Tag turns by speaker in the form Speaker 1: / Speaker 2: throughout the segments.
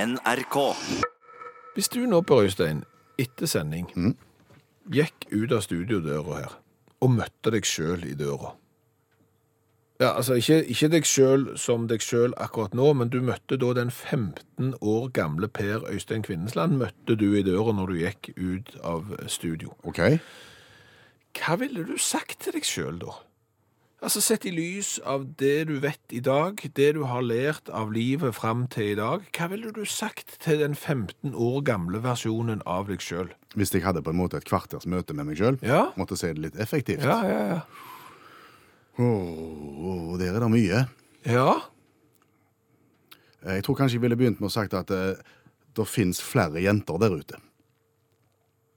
Speaker 1: NRK.
Speaker 2: Hvis du nå, Per Øystein, etter sending gikk ut av studiodøra her og møtte deg sjøl i døra Ja, altså ikke, ikke deg sjøl som deg sjøl akkurat nå, men du møtte da den 15 år gamle Per Øystein Kvinnesland møtte du i døra når du gikk ut av studio.
Speaker 3: Ok.
Speaker 2: Hva ville du sagt til deg sjøl da? Altså Sett i lys av det du vet i dag, det du har lært av livet fram til i dag, hva ville du sagt til den 15 år gamle versjonen av deg sjøl?
Speaker 3: Hvis jeg hadde på en måte et kvarters møte med meg sjøl,
Speaker 2: Ja.
Speaker 3: måtte si det litt effektivt.
Speaker 2: Ja, ja, ja.
Speaker 3: Åh, der er det mye. Eh,
Speaker 2: Ja,
Speaker 3: Jeg tror kanskje jeg ville begynt med å sagt at eh, det fins flere jenter der ute.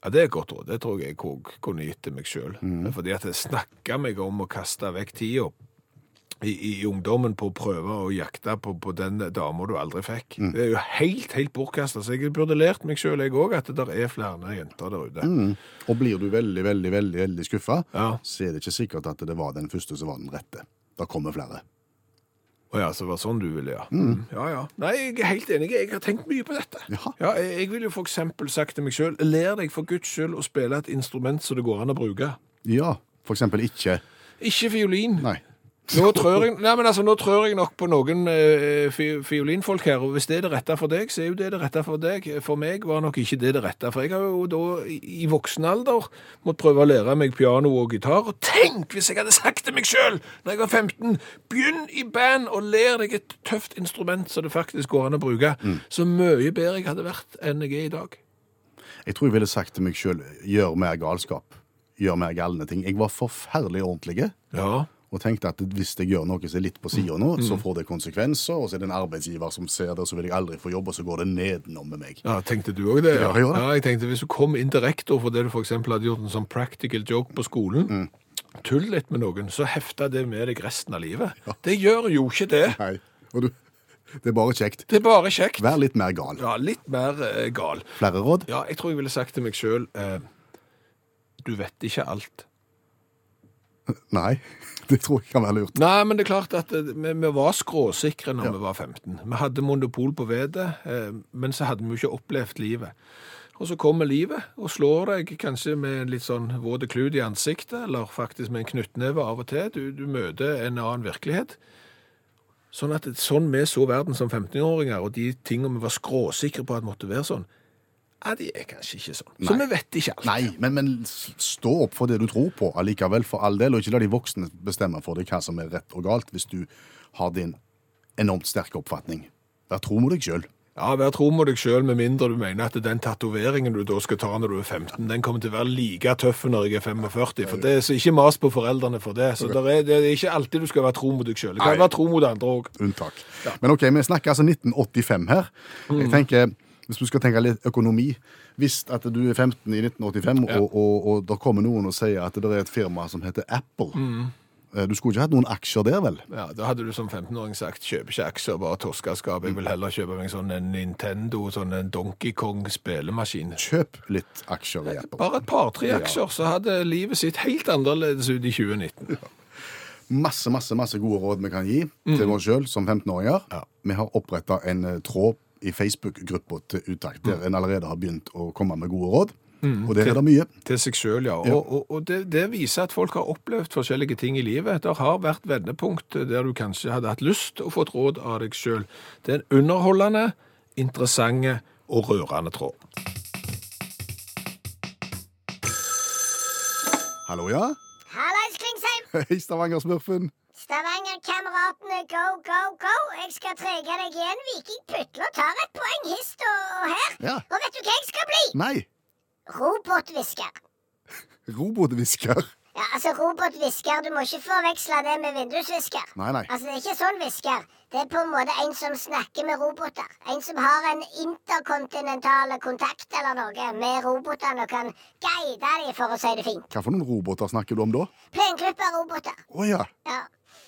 Speaker 2: ja det er et godt råd. Det tror jeg jeg òg kunne gitt til meg sjøl. Fordi at jeg snakka meg om å kaste vekk tida i, i ungdommen på å prøve å jakte på, på den dama du aldri fikk. Det er jo helt, helt bortkasta. Så jeg burde lært meg sjøl, jeg òg, at det der er flere jenter der ute.
Speaker 3: Og blir du veldig, veldig, veldig, veldig skuffa,
Speaker 2: Mm. Ja.
Speaker 3: så er det ikke sikkert at det var den første som var den rette. Det kommer flere.
Speaker 2: Å ja, så det var sånn du ville, ja. Ja, ja. Nei, jeg er helt enig. Jeg har tenkt mye på dette.
Speaker 3: Jaha.
Speaker 2: jeg, jeg ville jo for eksempel sagt til meg sjøl Lær deg for guds skyld å spille et instrument som det går an å bruke.
Speaker 3: Ja, for eksempel ikke
Speaker 2: Ikke fiolin.
Speaker 3: Nei.
Speaker 2: Nå trør jeg, nei, men altså, nå trør jeg nok på noen eh, fi, fiolinfolk her, og hvis det er det rette for deg, så er jo det det rette for deg. For meg var nok ikke det det rette, for jeg har jo da i, i voksen alder måttet prøve å lære meg piano og gitar, og tenk hvis jeg hadde sagt til meg sjøl når jeg var 15, begynn i band og lær deg et tøft instrument som det faktisk går an å bruke, så mye bedre jeg hadde vært enn jeg er i dag.
Speaker 3: Jeg tror jeg ville sagt til meg sjøl gjør mer galskap. Gjør mer galne ting. Jeg var forferdelig ordentlig.
Speaker 2: Ja,
Speaker 3: Og tenkte at hvis jeg gjør noe som er litt på sida nå, så får det konsekvenser. Og så er det en arbeidsgiver som ser det, og så vil jeg aldri få jobb, og så går det nedenom med meg.
Speaker 2: Ja, tenkte du òg det?
Speaker 3: Ja, jeg gjorde det.
Speaker 2: ja, jeg tenkte Hvis du kom inn til rektor fordi du for eksempel hadde gjort en sånn practical joke på skolen,
Speaker 3: Mm.
Speaker 2: tull litt med noen, så hefta det med deg resten av livet. Det gjør jo ikke det.
Speaker 3: Nei, og du, det er bare kjekt.
Speaker 2: Det er bare kjekt.
Speaker 3: Vær litt mer gal.
Speaker 2: Ja, litt mer eh, gal.
Speaker 3: Flere råd?
Speaker 2: Ja, jeg tror jeg ville sagt til meg sjøl eh, Du vet ikke alt.
Speaker 3: Nei, det tror jeg kan være lurt.
Speaker 2: Nei, men det er klart at eh, vi, vi var skråsikre når vi var 15. Vi hadde monopol på vedet, eh, men så hadde vi jo ikke opplevd livet. Og så kommer livet og slår deg kanskje med en litt sånn våte klut i ansiktet, eller faktisk med en knyttneve av og til. Du, du møter en annen virkelighet. Sånn at sånn vi så verden som 15-åringer, og de tingene vi var skråsikre på at måtte være sånn, ja, de er kanskje ikke sånn. Så
Speaker 3: Nei.
Speaker 2: vi vet ikke alt.
Speaker 3: Nei, men, men s- stå opp for det du tror på allikevel, for all del, og ikke la de voksne bestemme for deg hva som er rett og galt, hvis du har din enormt sterke oppfatning. Vær tro mot deg sjøl.
Speaker 2: Ja, Vær tro mot deg sjøl, med mindre du mener at den tatoveringen du da skal ta når du er 15, den kommer til å være like tøff når jeg er 45. for det, Så ikke mas på foreldrene for det. Så der er, Det er ikke alltid du skal være tro mot deg sjøl. Du kan
Speaker 3: Nei.
Speaker 2: være tro mot andre òg.
Speaker 3: unntak. Men ok, vi snakker altså 1985 her. Jeg tenker, Hvis du skal tenke litt økonomi Hvis at du er 15 i 1985, og, og, og det kommer noen og sier at det er et firma som heter Apple Eh, Du skulle ikke hatt noen aksjer der, vel?
Speaker 2: Ja, da hadde du som 15-åring sagt 'kjøp ikke aksjer, bare torskeskap'. Jeg vil heller kjøpe meg sånn en Nintendo, sånn en Donkey Kong-spelemaskin.
Speaker 3: Kjøp litt aksjer i Apple.
Speaker 2: Bare et par-tre aksjer, så hadde livet sitt helt annerledes ut i 2019.
Speaker 3: Masse masse, masse gode råd vi kan gi til oss sjøl som 15-åringer. Vi har oppretta en eh, tråd i Facebook-gruppa til Utakt, der en allerede har begynt å komme med gode råd. Og der er det mye.
Speaker 2: Til seg sjøl, ja. Og, og, og det, det viser at folk har opplevd forskjellige ting i livet. Det har vært vendepunkt der du kanskje hadde hatt lyst og fått råd av deg sjøl. Det er en underholdende, interessante og rørende tråd.
Speaker 3: Hallo, ja?
Speaker 4: Hallais, Klingsheim!
Speaker 3: Hei, Stavanger-smurfen.
Speaker 4: Stavanger-kameratene, go, go, go! Jeg skal trege deg igjen. Viking putler tar et poeng hist og, og her.
Speaker 3: Ja.
Speaker 4: Og vet du hva jeg skal bli?
Speaker 3: Nei,
Speaker 4: Robothvisker.
Speaker 3: robotvisker.
Speaker 4: Ja, altså Robothvisker, du må ikke forveksle det med vindusvisker.
Speaker 3: Nei, nei.
Speaker 4: Altså, Det er ikke sånn hvisker. Det er på en måte en som snakker med roboter. En som har en interkontinental kontakt eller noe med robotene og kan guide dem, for å si det fint.
Speaker 3: Hva for noen roboter snakker du om da? Å
Speaker 4: Plengrupper-roboter.
Speaker 3: ja,
Speaker 4: Ja.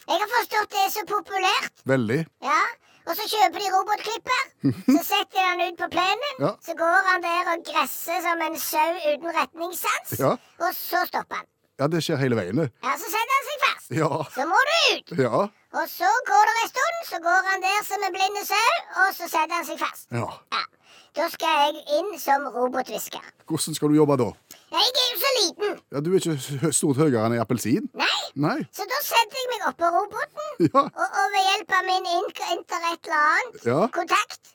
Speaker 4: Jeg har forstått det er så populært.
Speaker 3: veldig.
Speaker 4: Ja, og så kjøper de robotklipper. Så setter de han ut på plenen.
Speaker 3: Ja.
Speaker 4: Så går han der og gresser som en sau uten retningssans.
Speaker 3: Ja.
Speaker 4: Og så stopper han.
Speaker 3: Ja, det skjer hele veien. det.
Speaker 4: Ja, Så setter han seg fast.
Speaker 3: Ja.
Speaker 4: Så må du ut!
Speaker 3: Ja.
Speaker 4: Og så går det en stund, så går han der som en blinde sau, og så setter han seg fast.
Speaker 3: ja.
Speaker 4: Ja. Da skal jeg inn som robothvisker.
Speaker 3: Hvordan skal du jobbe da?
Speaker 4: Jeg er jo så liten!
Speaker 3: Ja, Du er ikke hø- stort høyere enn ei appelsin?
Speaker 4: Nei!
Speaker 3: Nei.
Speaker 4: Så da setter jeg meg oppå roboten,
Speaker 3: Ja.
Speaker 4: og, og ved hjelp av min ink- inter et eller annet
Speaker 3: Ja.
Speaker 4: kontakt,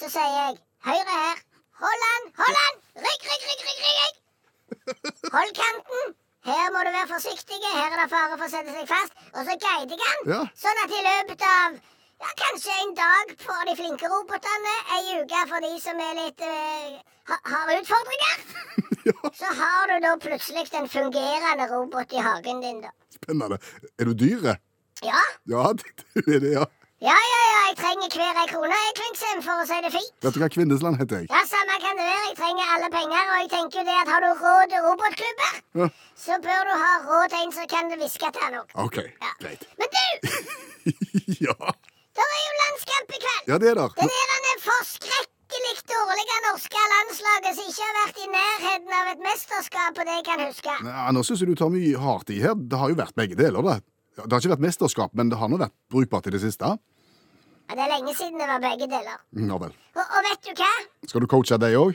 Speaker 4: så sier jeg høyre her. Hold han, hold han! Rygg, rygg, rygg, rygg! rygg. Hold kanten! Her må du være forsiktig, her er det fare for å sette seg fast. Og så guider jeg han,
Speaker 3: Ja.
Speaker 4: sånn at i løpet av ja, kanskje en dag for de flinke robotene, ei uke for de som er litt eh, ha, har utfordringer,
Speaker 3: ja.
Speaker 4: så har du da plutselig en fungerende robot i hagen din, da.
Speaker 3: Spennende. Er du dyret?
Speaker 4: Ja,
Speaker 3: Ja, du er det, ja.
Speaker 4: Ja, ja, ja, jeg trenger hver ei krone, jeg, Klingsheim, for å si det fint.
Speaker 3: Vet du hva Kvindesland heter jeg?
Speaker 4: Ja, samme kan det være, jeg trenger alle penger, og jeg tenker jo det at har du råd til robotklubber,
Speaker 3: Ja.
Speaker 4: så bør du ha råd til en som kan hviske til han òg.
Speaker 3: OK,
Speaker 4: Ja.
Speaker 3: greit.
Speaker 4: Men du,
Speaker 3: ja.
Speaker 4: det er jo landskamp i kveld.
Speaker 3: ja, det er der.
Speaker 4: Det der er det forskrekkelig dårlige norske landslaget som ikke har vært i nærheten av et mesterskap på det jeg kan huske.
Speaker 3: Ja, nå syns jeg du tar mye hardt i her. Det har jo vært begge deler, da. Ja, Det har ikke vært mesterskap, men det har nå vært brukbart i det siste.
Speaker 4: Ja, det er lenge siden det var begge deler.
Speaker 3: Ja vel.
Speaker 4: Og, og vet du hva?
Speaker 3: Skal du coache deg òg?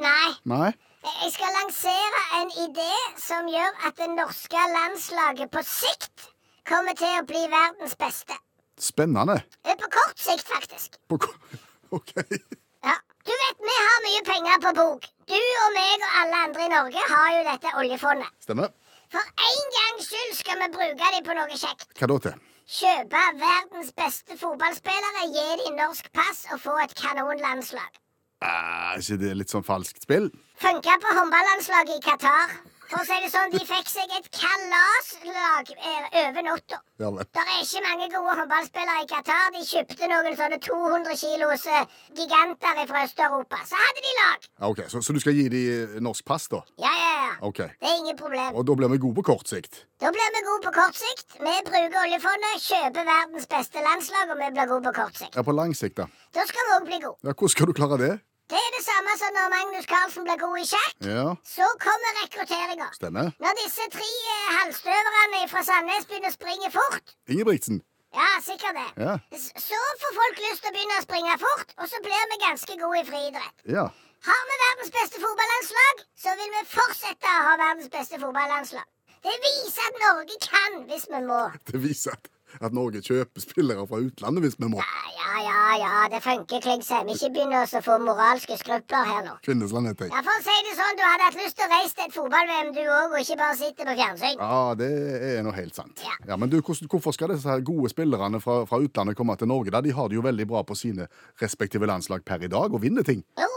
Speaker 4: Nei.
Speaker 3: Nei?
Speaker 4: Jeg skal lansere en idé som gjør at det norske landslaget på sikt kommer til å bli verdens beste.
Speaker 3: Spennende.
Speaker 4: Eh, På kort sikt, faktisk.
Speaker 3: På ko- OK.
Speaker 4: Ja. Du vet, vi har mye penger på bok. Du og meg og alle andre i Norge har jo dette oljefondet.
Speaker 3: Stemmer.
Speaker 4: For en gangs skyld skal vi bruke dem på noe kjekt.
Speaker 3: Hva da til?
Speaker 4: Kjøpe verdens beste fotballspillere, gi dem norsk pass og få et kanonlandslag.
Speaker 3: Er ikke det litt sånn falskt spill?
Speaker 4: Funka på håndballandslaget i Qatar. For å si det sånn, de fikk seg et kalaslag eh, over natta.
Speaker 3: Ja vel.
Speaker 4: Det er ikke mange gode håndballspillere i Qatar. De kjøpte noen sånne 200 kilos eh, giganter fra Øst-Europa. Så hadde de lag.
Speaker 3: Ja, Ah, OK, så, så du skal gi dem norsk pass, da?
Speaker 4: Ja, ja, ja.
Speaker 3: OK.
Speaker 4: Det er ingen problem.
Speaker 3: Og da blir vi gode på kort sikt?
Speaker 4: Da blir vi gode på kort sikt. Vi bruker oljefondet, kjøper verdens beste landslag, og vi blir gode på kort sikt.
Speaker 3: Ja, på lang sikt, da.
Speaker 4: Da skal vi òg bli gode.
Speaker 3: Ja, Hvordan skal du klare det?
Speaker 4: Det er det samme som når Magnus Carlsen blir god i sjakk.
Speaker 3: Ja,
Speaker 4: Så kommer rekrutteringa.
Speaker 3: stemmer.
Speaker 4: Når disse tre eh, halvstøverne fra Sandnes begynner å springe fort,
Speaker 3: Ingebrigtsen.
Speaker 4: Ja, sikkert det.
Speaker 3: Ja.
Speaker 4: S- Så får folk lyst til å begynne å springe fort, og så blir vi ganske gode i friidrett.
Speaker 3: Ja.
Speaker 4: Har vi verdens beste fotballandslag, så vil vi fortsette å ha verdens beste fotballandslag. Det viser at Norge kan hvis vi må.
Speaker 3: Det viser at, at Norge kjøper spillere fra utlandet hvis vi må.
Speaker 4: Ja, ja, ja, ja det funker, Klingsheim. Ikke begynn å så få moralske skrupler her nå.
Speaker 3: Kvinnesland heter jeg.
Speaker 4: Ja, For å si det sånn, du hadde hatt lyst til å reise til et fotball-VM, du òg, og ikke bare sitte på fjernsyn.
Speaker 3: Ja, Ah, det er nå helt sant.
Speaker 4: Ja.
Speaker 3: Ja, Men du, hvordan, hvorfor skal disse her gode spillerne fra, fra utlandet komme til Norge? da? De har det jo veldig bra på sine respektive landslag per i dag og vinner ting.
Speaker 4: Jo,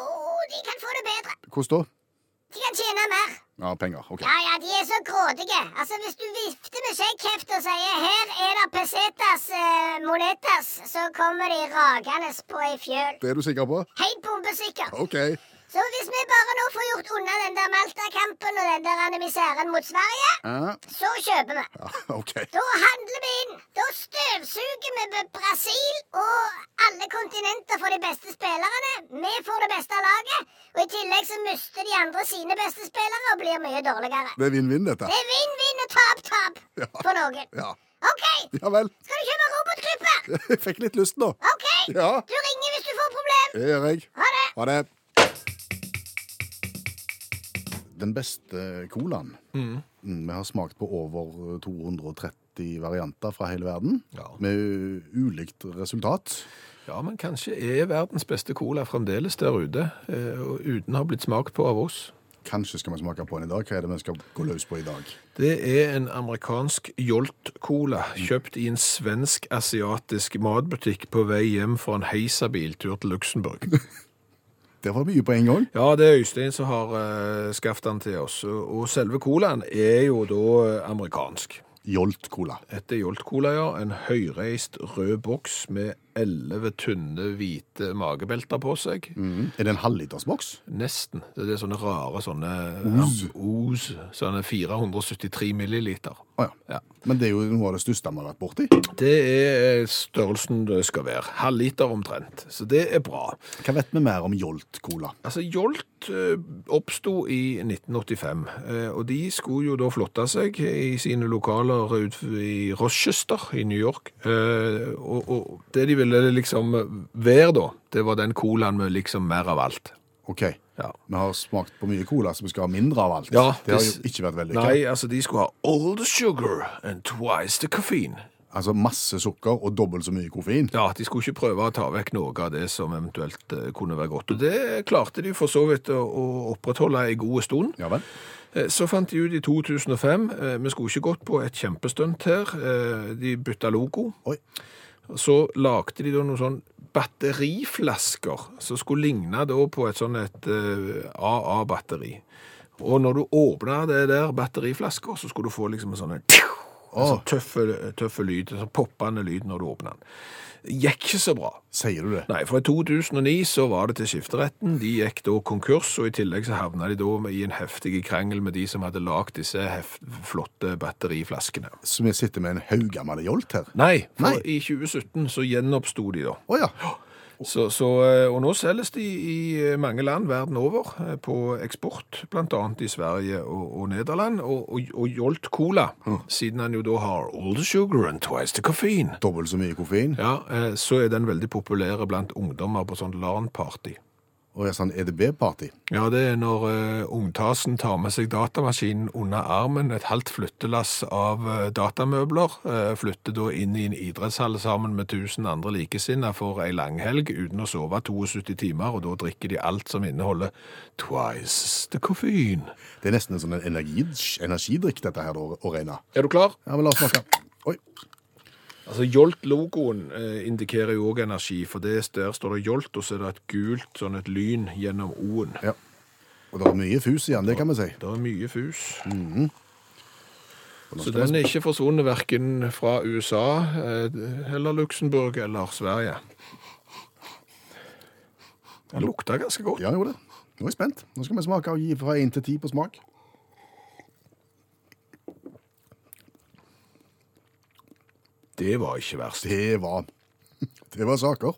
Speaker 4: de kan få det bedre.
Speaker 3: Hvordan da?
Speaker 4: De kan tjene mer.
Speaker 3: Ja, penger. OK.
Speaker 4: Ja, ja, de er så grådige. Altså, Hvis du vifter med skjeggkjeft og sier 'her er det pesetas eh, monetas', så kommer de ragende på ei fjøl.
Speaker 3: Det er du sikker på?
Speaker 4: Helt bombesikker.
Speaker 3: OK.
Speaker 4: Så hvis vi bare nå får gjort unna den der Malta-kampen og den der animiseren mot Sverige,
Speaker 3: Ja,
Speaker 4: så kjøper vi.
Speaker 3: ja, OK.
Speaker 4: Da handler vi inn. Da støvsuger vi B- Brasil og alle kontinenter for de beste spillerne. Vi får det beste laget. Og i tillegg så mister de andre sine beste spillere og blir mye dårligere.
Speaker 3: Det er vinn-vinn, dette.
Speaker 4: Det er vinn-vinn og tap-tap
Speaker 3: Ja.
Speaker 4: for noen.
Speaker 3: Ja.
Speaker 4: OK,
Speaker 3: ja vel.
Speaker 4: skal du kjøpe robotklipper?
Speaker 3: Jeg fikk litt lyst nå.
Speaker 4: OK,
Speaker 3: Ja.
Speaker 4: du ringer hvis du får problem.
Speaker 3: Det gjør jeg.
Speaker 4: Ha det.
Speaker 3: Ha det. Den beste colaen Mm, Vi har smakt på over 230 varianter fra hele verden,
Speaker 2: Ja.
Speaker 3: med u- ulikt resultat.
Speaker 2: Ja, men kanskje er verdens beste cola fremdeles der ute, eh, og uten å ha blitt smakt på av oss.
Speaker 3: Kanskje skal vi smake på den i dag. Hva er det vi skal gå løs på i dag?
Speaker 2: Det er en amerikansk Jolt-cola, kjøpt i en svensk-asiatisk matbutikk på vei hjem fra en heisa-biltur til Luxembourg.
Speaker 3: Det var mye på en gang.
Speaker 2: Ja, det er Øystein som har uh, skaffet den til oss, og selve colaen er jo da eh, amerikansk.
Speaker 3: Jolt-cola.
Speaker 2: Dette er Jolt-cola, ja. En høyreist rød boks med elleve tynne, hvite magebelter på seg.
Speaker 3: Mhm. Er det en halvlitersboks?
Speaker 2: Nesten. Det er sånne rare sånne
Speaker 3: Os.
Speaker 2: Ja, os sånne 473 milliliter.
Speaker 3: Å ja.
Speaker 2: Ja.
Speaker 3: Men det er jo noe av det største vi har vært borti.
Speaker 2: Det er eh, størrelsen det skal være. Halv liter omtrent. Så det er bra.
Speaker 3: Hva vet vi mer om Jolt Cola?
Speaker 2: Altså, Jolt eh, oppsto i 1985, eh, og de skulle jo da flotte seg i sine lokaler ut i Rochester i New York. Eh, og, og det de ville liksom være da, det var den colaen med liksom mer av alt.
Speaker 3: OK,
Speaker 2: Ja.
Speaker 3: vi har smakt på mye cola, så vi skal ha mindre av alt.
Speaker 2: Ja,
Speaker 3: det har
Speaker 2: det-
Speaker 3: jo ikke vært vellykka.
Speaker 2: Nei, altså, de skulle ha all the sugar and twice the caffeine.
Speaker 3: Altså masse sukker og dobbelt så mye koffein.
Speaker 2: Ja, de skulle ikke prøve å ta vekk noe av det som eventuelt eh, kunne være godt. Og det klarte de for så vidt å, å opprettholde ei god stund.
Speaker 3: Ja vel?
Speaker 2: Eh, Så fant de ut i 2005, eh, vi skulle ikke gått på et kjempestunt her, eh, de bytta logo.
Speaker 3: Oi.
Speaker 2: Så lagde de da noen sånn batteriflasker som skulle ligne da på et sånn et eh, AA-batteri. Og når du åpna det der batteriflasker, så skulle du få liksom en sånn en en sånn tøffe, tøffe lyd, en sånn poppende lyd når du åpna den. Gikk ikke så bra.
Speaker 3: Sier du det?
Speaker 2: Nei, for i 2009 så var det til skifteretten. De gikk da konkurs, og i tillegg så havna de da i en heftig krangel med de som hadde lagd disse hef flotte batteriflaskene.
Speaker 3: Så vi sitter med en haugammel Jolt her?
Speaker 2: Nei, for
Speaker 3: Nei.
Speaker 2: i 2017 så gjenoppsto de da.
Speaker 3: Å ja.
Speaker 2: Så, så, eh, og nå selges de i eh, mange land verden over eh, på eksport, bl.a. i Sverige og, og Nederland. Og, og, og Jolt Cola, siden han jo da har all the sugar and twice the caffeine,
Speaker 3: Dobbelt så mye koffein?
Speaker 2: ja, eh, så er den veldig populær blant ungdommer på sånn LAN-party.
Speaker 3: Og er sånn EDB-party?
Speaker 2: Ja, det er når eh, ungtasen tar med seg datamaskinen under armen, et halvt flyttelass av eh, datamøbler, eh, flytter da inn i en idrettshall sammen med tusen andre likesinnede for ei langhelg uten å sove 72 timer, og da drikker de alt som inneholder twice the koffein.
Speaker 3: Det er nesten en sånn en energi, energidrikk, dette her, da, å regne.
Speaker 2: Er du klar?
Speaker 3: Ja, men la oss snakke. Oi.
Speaker 2: Altså, Jolt-logoen eh, indikerer jo òg energi, for det, der står det Jolt, og så er det et gult sånn et lyn gjennom O-en.
Speaker 3: Ja. Og det er mye fus igjen, det kan vi si.
Speaker 2: Det er mye fus. Så den er ikke forsvunnet verken fra USA eh, eller Luxembourg eller Sverige. Den lukter ganske godt.
Speaker 3: Ja, jo det. Nå er jeg spent. Nå skal vi smake og gi fra 1 til 10 på smak.
Speaker 2: Det var ikke verst.
Speaker 3: Det var Det var saker.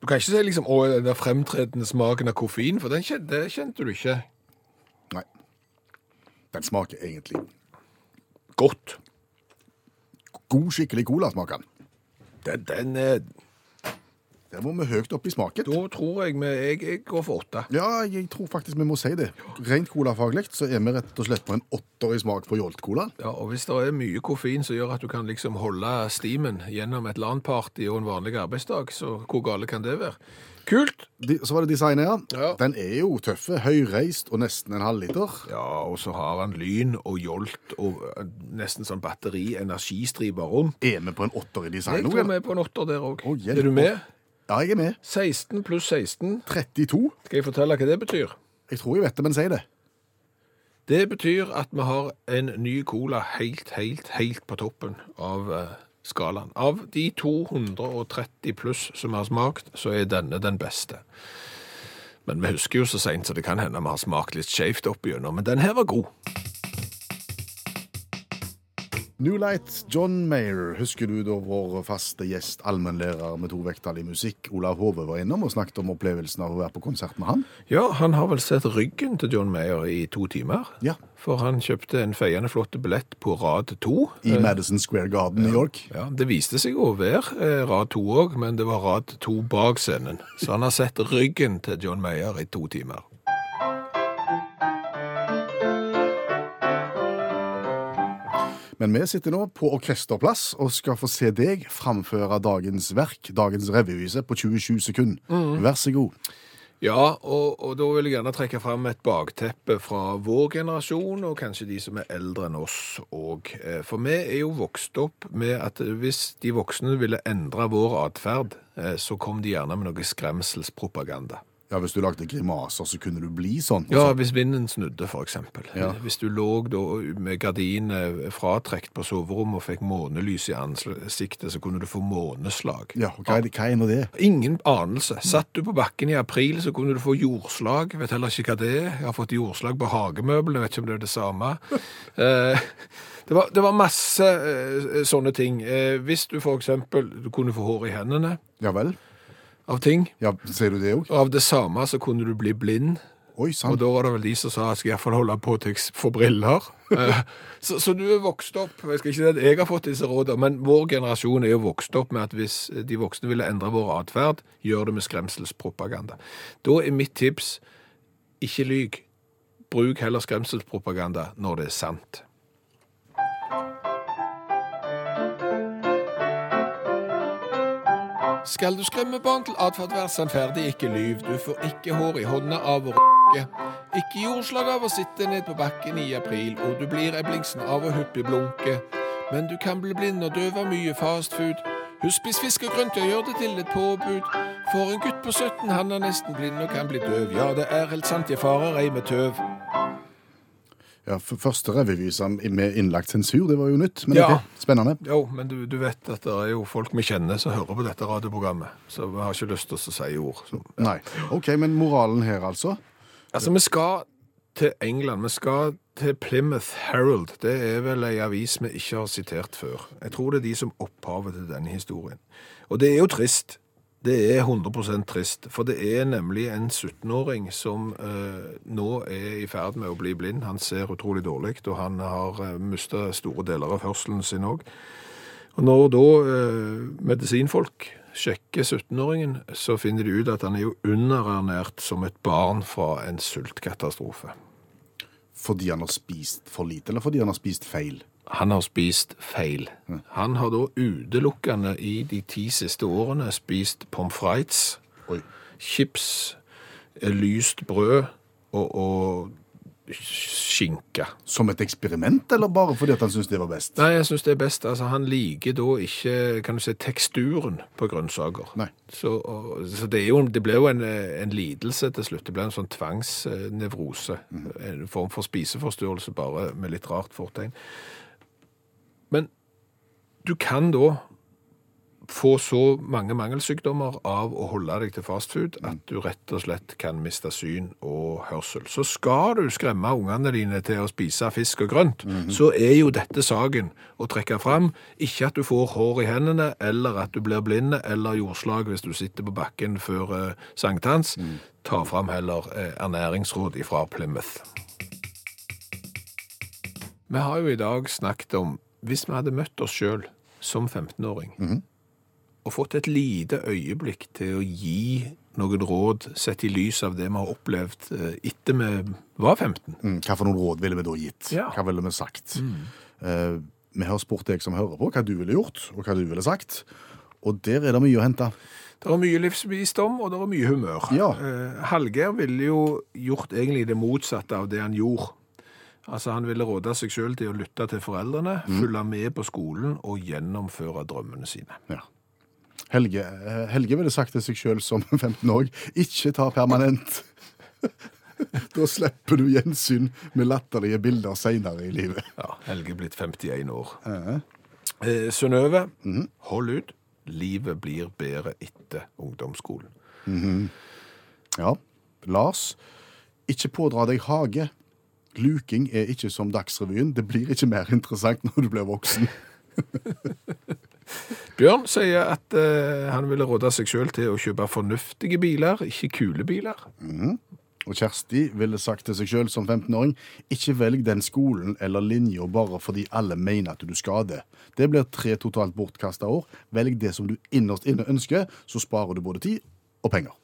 Speaker 2: Du kan ikke si liksom, å, den der fremtredende smaken av koffein, for den kjente, det kjente du ikke
Speaker 3: Nei. Den smaker egentlig
Speaker 2: godt.
Speaker 3: god, skikkelig cola, smaker den.
Speaker 2: Den, den, eh,
Speaker 3: Der var vi høyt opp i smaken.
Speaker 2: da tror jeg vi jeg, jeg går for åtte.
Speaker 3: Ja, jeg tror faktisk vi må si det. Rent colafaglig så er vi rett og slett på en åtter i smak på Jolt Cola.
Speaker 2: Ja, og hvis det er mye koffein som gjør at du kan liksom holde stimen gjennom et LAN-party og en vanlig arbeidsdag, så hvor gale kan det være? Kult!
Speaker 3: De, så var det designet her.
Speaker 2: Ja.
Speaker 3: Den er jo tøffe, høyreist og nesten en halvliter.
Speaker 2: Ja, og så har han lyn og jolt og eh, nesten sånn batteri-energistriper rundt.
Speaker 3: Er vi på en åtter i
Speaker 2: Jeg
Speaker 3: design nå?
Speaker 2: tror vi
Speaker 3: eller?
Speaker 2: er på en åtter der òg.
Speaker 3: Å, hjelp.
Speaker 2: er du med?
Speaker 3: Ja, jeg er med.
Speaker 2: 16 pluss 16.
Speaker 3: 32.
Speaker 2: Skal jeg fortelle hva det betyr?
Speaker 3: Jeg tror jeg vet det, men si det.
Speaker 2: Det betyr at vi har en ny cola helt, helt, helt på toppen av eh, skalaen. Av de 230 pluss som vi har smakt, så er denne den beste. Men vi husker jo så seint, så det kan hende vi har smakt litt skjevt opp igjennom. Men den her var god.
Speaker 3: New Light, John Mayer. Husker du da vår faste gjest, allmennlærer med to vekttall i musikk, Olav Hove, var innom og snakket om opplevelsen av å være på konsert med han?
Speaker 2: Ja, han har vel sett ryggen til John Mayer i to timer.
Speaker 3: Ja.
Speaker 2: For han kjøpte en feiende flott billett på rad to.
Speaker 3: I Madison Square Garden, New York.
Speaker 2: Ja, Det viste seg å være eh, rad to òg, men det var rad to bak scenen. Så han har sett ryggen til John Mayer i to timer.
Speaker 3: Men vi sitter nå på Orkesterplass og skal få se deg framføre dagens verk, dagens revyvise, på 27 sekunder.
Speaker 2: Mm.
Speaker 3: Vær så god.
Speaker 2: Ja, og, og da vil jeg gjerne trekke fram et bakteppe fra vår generasjon, og kanskje de som er eldre enn oss òg. For vi er jo vokst opp med at hvis de voksne ville endre vår atferd, eh, så kom de gjerne med noe skremselspropaganda.
Speaker 3: Ja, Hvis du lagde grimaser, så kunne du bli sånn.
Speaker 2: Ja, hvis vinden snudde, for eksempel.
Speaker 3: Ja.
Speaker 2: Hvis du lå da med gardinene fratrekt på soverommet og fikk månelys i ansiktet, så kunne du få måneslag.
Speaker 3: ja og hva, er det, hva er nå det?
Speaker 2: Ingen anelse. Satt du på bakken i april, så kunne du få jordslag. Vet heller ikke hva det er. Jeg har fått jordslag på hagemøblene, vet ikke om det er det samme. Eh, det, var, det var masse eh, sånne ting. Eh, hvis du for eksempel du kunne få hår i hendene
Speaker 3: Ja vel?
Speaker 2: av ting,
Speaker 3: Ja, Sier du det òg?
Speaker 2: og av det samme så kunne du bli blind.
Speaker 3: Oi
Speaker 2: Og
Speaker 3: sann.
Speaker 2: da var det vel de som sa jeg skal iallfall holde på til jeg får briller. Eh, så, så du er vokst opp Jeg skal ikke si at jeg har fått disse rådene, men vår generasjon er jo vokst opp med at hvis de voksne ville endre vår atferd, gjør det med skremselspropaganda. Da er mitt tips ikke lyg. Bruk heller skremselspropaganda når det er sant. Skal du skremme barn til atferd, vær sannferdig, ikke lyv. Du får ikke hår i hånda av å råkke. Ikke jordslag av å sitte ned på bakken i april, og du blir eblingsen av å huppe blunke. Men du kan bli blind og døv av mye fastfood. Husk, spis fisk og grønt, og gjør det til et påbud. For en gutt på 17, han er nesten blind og kan bli døv. Ja, det er helt sant, jeg farer ei med tøv.
Speaker 3: Ja, f- første revyvisa med innlagt sensur, det var jo nytt. Men
Speaker 2: Ja.
Speaker 3: ok, spennende.
Speaker 2: Jo, men du, du vet at det er jo folk vi kjenner som hører på dette radioprogrammet, så vi har ikke lyst til å si ord. Så.
Speaker 3: Nei. OK, men moralen her, altså?
Speaker 2: Altså, vi skal til England. Vi skal til Plymouth Herald. Det er vel ei avis vi ikke har sitert før. Jeg tror det er de som opphavet til denne historien. Og det er jo trist. Det er 100 trist, for det er nemlig en 17-åring som eh, nå er i ferd med å bli blind. Han ser utrolig dårlig, og han har eh, mista store deler av hørselen sin òg. Og når da eh, medisinfolk sjekker 17-åringen, så finner de ut at han er jo underernært som et barn fra en sultkatastrofe.
Speaker 3: Fordi han har spist for lite, eller fordi han har spist feil?
Speaker 2: Han har spist feil. Han har da utelukkende i de ti siste årene spist pommes frites,
Speaker 3: Oi.
Speaker 2: chips, eh, lyst brød og, og skinke.
Speaker 3: Som et eksperiment, eller bare fordi at han syns det var best?
Speaker 2: Nei, jeg syns det er best. Altså, han liker da ikke kan du si, teksturen på grønnsaker.
Speaker 3: Nei.
Speaker 2: Så, og, så det, er jo, det ble jo en, eh, en lidelse til slutt. Det ble en sånn tvangsnevrose.
Speaker 3: Mhm.
Speaker 2: En form for spiseforstyrrelse, bare med litt rart fortegn. Men du kan da få så mange mangelsykdommer av å holde deg til fastfood at du rett og slett kan miste syn og hørsel. Så skal du skremme ungene dine til å spise fisk og grønt, så er jo dette saken å trekke fram. Ikke at du får hår i hendene, eller at du blir blinde, eller jordslag hvis du sitter på bakken før eh, sankthans. Ta fram heller eh, ernæringsråd ifra Plymouth. Vi har jo i dag snakket om hvis vi hadde møtt oss sjøl som 15-åring, og fått et lite øyeblikk til å gi noen råd sett i lys av det vi har opplevd eh, etter vi var 15.
Speaker 3: Mm, Hva for noen råd ville vi da gitt?
Speaker 2: Ja.
Speaker 3: Hva ville vi sagt? Eh, vi har spurt deg som hører på, hva du ville gjort, og hva du ville sagt. Og der er det mye å hente.
Speaker 2: Det er mye livsvisdom, og det er mye humør.
Speaker 3: Ja.
Speaker 2: Eh, Hallgeir ville jo gjort egentlig det motsatte av det han gjorde. Altså Han ville råde seg sjøl til å lytte til foreldrene, følge med på skolen og gjennomføre drømmene sine.
Speaker 3: Ja. Helge, eh, Helge ville sagt til seg sjøl som 15 år ikke ta permanent. da slipper du gjensyn med latterlige bilder seinere i livet.
Speaker 2: Ja, Helge er blitt 51 år. Eh, Synnøve, hold ut. Livet blir bedre etter ungdomsskolen.
Speaker 3: Ja. Lars, ikke pådra deg hage. Luking er ikke som Dagsrevyen. Det blir ikke mer interessant når du blir voksen.
Speaker 2: Bjørn sier at eh, han ville råde seg sjøl til å kjøpe fornuftige biler, ikke kule biler.
Speaker 3: Og Kjersti ville sagt til seg sjøl som 15-åring ikke velg den skolen eller linja bare fordi alle mener at du skal det. Det blir tre totalt bortkasta år. Velg det som du innerst inne ønsker, så sparer du både tid og penger.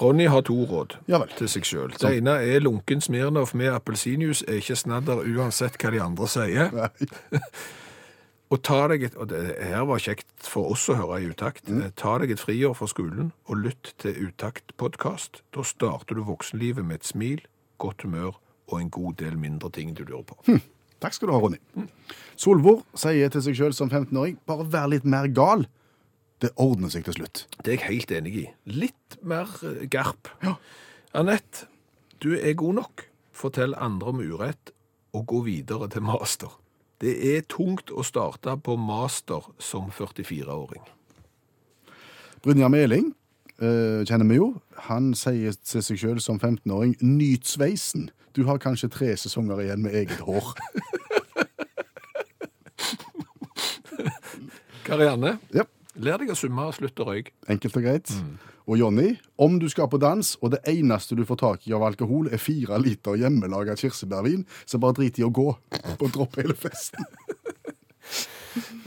Speaker 2: Ronny har to råd
Speaker 3: Ja vel.
Speaker 2: til seg sjøl. Det ene er lunken Smirnov med appelsinjuice er ikke snadder uansett hva de andre sier. Og ta deg et, og det her var kjekt for oss å høre i utakt,
Speaker 3: Mm.
Speaker 2: Eh, ta deg et friår fra skolen og lytt til Utakt-podkast. Da starter du voksenlivet med et smil, godt humør og en god del mindre ting du lurer på.
Speaker 3: Takk skal du ha, Ronny. Solvor sier til seg sjøl som 15-åring bare vær litt mer gal. Det ordner seg til slutt.
Speaker 2: Det er jeg helt enig i. Litt mer eh, garp. Anette, du er god nok. Fortell andre om urett, og gå videre til master. Det er tungt å starte på master som 44-åring.
Speaker 3: Brynjar Meling eh, kjenner vi jo. Han sier til seg sjøl som 15-åring 'nyt sveisen'. Du har kanskje tre sesonger igjen med eget hår.
Speaker 2: Karianne,
Speaker 3: Ja,
Speaker 2: lær deg å summe og slutt å røyke.
Speaker 3: Enkelt og greit. Og Jonny, om du skal på dans, og det eneste du får tak i av alkohol, er fire liter hjemmelaga kirsebærvin, så bare drit i å gå og dropp hele festen.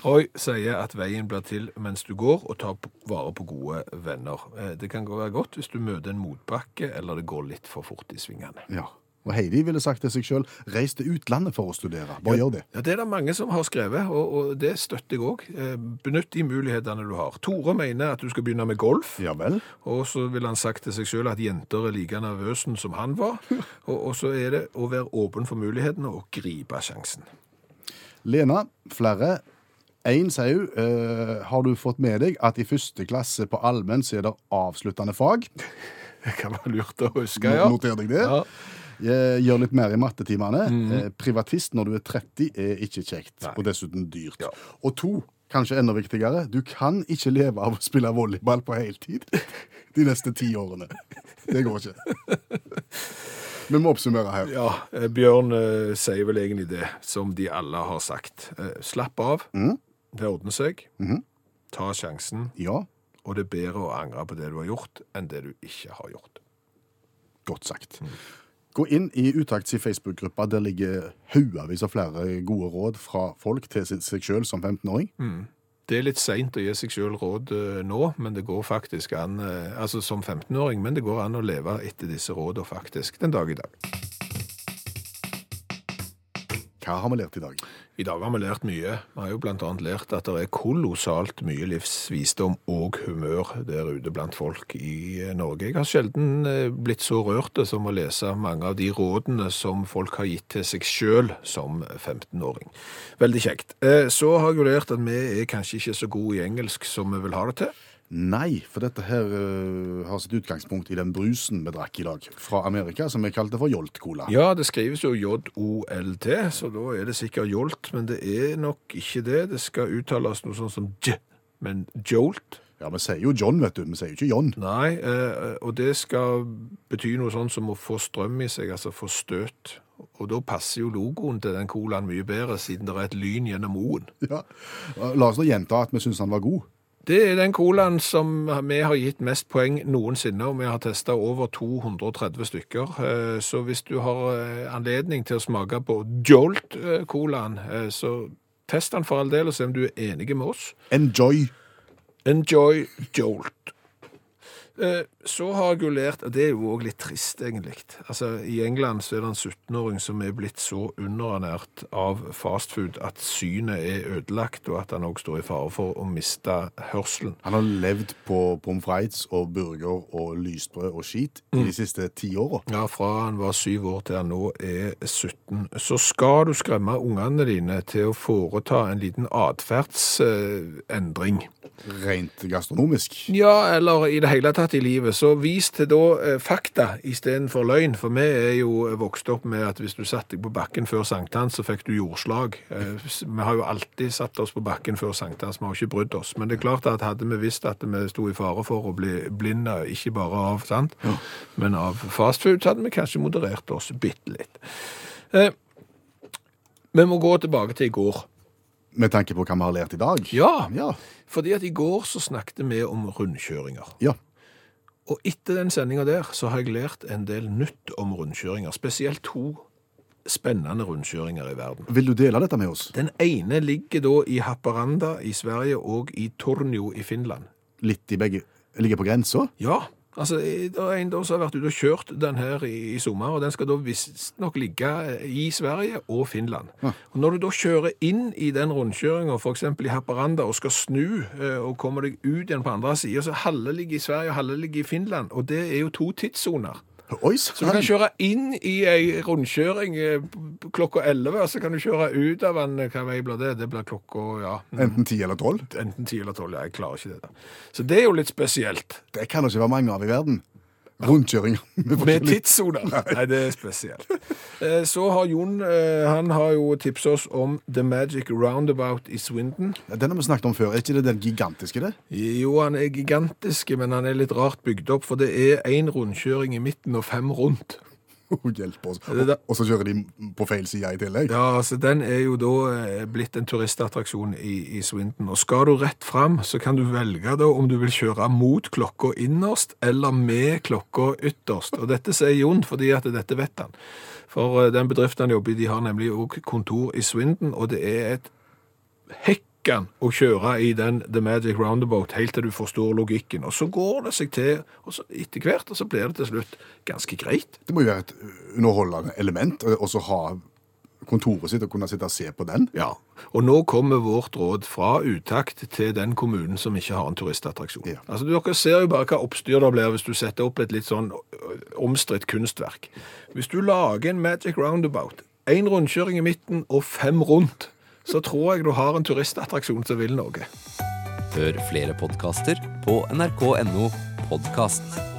Speaker 2: Roy sier at veien blir til mens du går, og tar p- vare på gode venner. Eh, Det kan gå- være godt hvis du møter en motbakke, eller det går litt for fort i svingene.
Speaker 3: Ja. Og Heidi ville sagt til seg sjøl 'reis til utlandet for å studere'. Bare gjør det.
Speaker 2: Ja, Det er det mange som har skrevet, og, og det støtter jeg òg. Benytt de mulighetene du har. Tore mener at du skal begynne med golf.
Speaker 3: Ja vel.
Speaker 2: Og så ville han sagt til seg sjøl at jenter er like nervøse som han var. Og, og så er det å være åpen for mulighetene og gripe sjansen.
Speaker 3: Lena, flere. Én sier hun eh, har du fått med deg at i første klasse på allmenn så er det avsluttende fag.
Speaker 2: Det kan være lurt å huske, ja.
Speaker 3: Not- Noter deg det.
Speaker 2: Ja. Mhm.
Speaker 3: Eh, Gjør litt mer i mattetimene. Eh, Privatist når du er 30 er ikke kjekt,
Speaker 2: Nei.
Speaker 3: og dessuten dyrt.
Speaker 2: Ja.
Speaker 3: Og to, kanskje enda viktigere, du kan ikke leve av å spille volleyball på heltid de neste ti årene. Det går ikke. Vi må oppsummere her.
Speaker 2: Ja, eh, Bjørn eh, sier vel egentlig det som de alle har sagt. Eh, slapp av, det ordner seg. Ta sjansen,
Speaker 3: Ja,
Speaker 2: og det er bedre å angre på det du har gjort, enn det du ikke har gjort.
Speaker 3: godt sagt. Gå inn i Utakts i Facebook-gruppa. Der ligger haugevis av flere gode råd fra folk til seg- seg sjøl som 15-åring.
Speaker 2: Det er litt seint å gi seg sjøl råd eh, nå, men det går faktisk an eh, altså som 15-åring, men det går an å leve etter disse rådene faktisk den dag i dag.
Speaker 3: Hva har vi lært i dag?
Speaker 2: I dag har vi lært mye. Vi har jo blant annet lært at det er kolossalt mye livsvisdom og humør der ute blant folk i eh, Norge. Jeg har sjelden eh, blitt så rørt som å lese mange av de rådene som folk har gitt til seg sjøl som 15-åring. Veldig kjekt. Eh, Så har jeg jo lært at vi er kanskje ikke så gode i engelsk som vi vil ha det til.
Speaker 3: Nei, for dette her eh, har sitt utgangspunkt i den brusen vi drakk i dag fra Amerika, som vi kalte for Jolt Cola.
Speaker 2: Ja, det skrives jo J-O-L-T, så da er det sikkert jolt, men det er nok ikke det. Det skal uttales noe sånn som j, men jolt.
Speaker 3: Ja, vi sier jo John, vet du. Vi sier jo ikke John.
Speaker 2: Nei, eh, og det skal bety noe sånn som å få strøm i seg, altså få støt. Og da passer jo logoen til den colaen mye bedre, siden det er et lyn gjennom O-en.
Speaker 3: Ja. La oss nå gjenta at vi syns han var god.
Speaker 2: Det er den colaen som vi har gitt mest poeng noensinne, og vi har testa over 230 stykker. Eh, Så hvis du har eh, anledning til å smake på Jolt-colaen, eh, så test den for all del, og se om du er enig med oss.
Speaker 3: Enjoy.
Speaker 2: Enjoy Jolt. Eh, Så har jeg jo lært, og det er jo òg litt trist, egentlig. Altså, I England så er det en 17-åring som er blitt så underernært av fastfood at synet er ødelagt, og at han òg står i fare for å miste hørselen.
Speaker 3: Han har levd på pommes frites og burger og lysbrød og skit i de siste ti åra.
Speaker 2: Ja, fra han var syv år til han nå er 17. Så skal du skremme ungene dine til å foreta en liten atferdsendring.
Speaker 3: Rent gastronomisk.
Speaker 2: Ja, eller i det hele tatt i livet. Så vis til da eh, fakta istedenfor løgn. For vi er jo vokst opp med at hvis du satte deg på bakken før sankthans, så fikk du jordslag. Eh, s- Vi har jo alltid satt oss på bakken før sankthans, vi har ikke brydd oss. Men det er klart at hadde vi visst at vi sto i fare for å bli blinde, ikke bare av sant, men av fastfood, så hadde vi kanskje moderert oss bitte litt. Eh, Vi må gå tilbake til i går.
Speaker 3: Med tanke på hva vi har lært i dag.
Speaker 2: Ja,
Speaker 3: Ja.
Speaker 2: fordi at i går så snakket vi om rundkjøringer.
Speaker 3: ja.
Speaker 2: Og etter den sendinga der, så har jeg lært en del nytt om rundkjøringer. Spesielt to spennende rundkjøringer i verden.
Speaker 3: Vil du dele dette med oss?
Speaker 2: Den ene ligger da i Haparanda i Sverige og i Tornio i Finland.
Speaker 3: Litt i begge Ligger på grensa?
Speaker 2: Ja, altså det er en da som har vært ute og kjørt den her i, i sommer, og den skal da visstnok ligge eh, i Sverige og Finland. Og når du da kjører inn i den rundkjøringa, f.eks. i Haparanda, og skal snu eh, og kommer deg ut igjen på andre sida, så halve ligger i Sverige og halve ligger i Finland, og det er jo to tidssoner.
Speaker 3: Oi
Speaker 2: Så du kan
Speaker 3: sann!
Speaker 2: kjøre inn i ei rundkjøring eh, p- klokka 11, og så kan du kjøre ut av den eh, Hva vei blir det? Det blir klokka ja,
Speaker 3: Enten ti eller tolv.
Speaker 2: enten 10 eller 12. Ja, jeg klarer ikke det. da. Så det er jo litt spesielt.
Speaker 3: Det kan det ikke være mange av i verden. Rundkjøringer. med
Speaker 2: Med
Speaker 3: forskjellig-
Speaker 2: tidssoner. Nei, det er spesielt. Eh, Så har Jon eh, han har jo tipsa oss om The Magic Roundabout i Swindon.
Speaker 3: Ja, Den har vi snakket om før. Er ikke det den gigantiske, det?
Speaker 2: Jo, han er gigantisk, men han er litt rart bygd opp, for det er én rundkjøring i midten og fem rundt.
Speaker 3: Å, Hjelp oss.
Speaker 2: det
Speaker 3: Og,
Speaker 2: da-
Speaker 3: og så kjører de på feil side i tillegg.
Speaker 2: Ja, altså Den er jo da eh, blitt en turistattraksjon i, i Swindon. Og Skal du rett fram, så kan du velge da om du vil kjøre mot klokka innerst eller med klokka ytterst. Og Dette sier Jon fordi at dette vet han. For eh, den bedriften han jobber i, de har nemlig òg kontor i Swindon, og det er et hekken å kjøre i den The Magic Roundabout helt til du forstår logikken. Og så går det seg til og så etter hvert, og så blir det til slutt ganske greit.
Speaker 3: Det må jo være et underholdende element å så ha kontoret sitt og kunne sitte og se på den.
Speaker 2: Ja, og nå kommer vårt råd fra utakt til den kommunen som ikke har en turistattraksjon.
Speaker 3: Ja.
Speaker 2: Altså, Dere ser jo bare hva oppstyr det blir hvis du setter opp et litt sånn omstridt kunstverk. Hvis du lager en magic roundabout, én rundkjøring i midten og fem rundt, så tror jeg du har en turistattraksjon som vil noe.
Speaker 1: Hør flere podkaster på nrk.no podkast.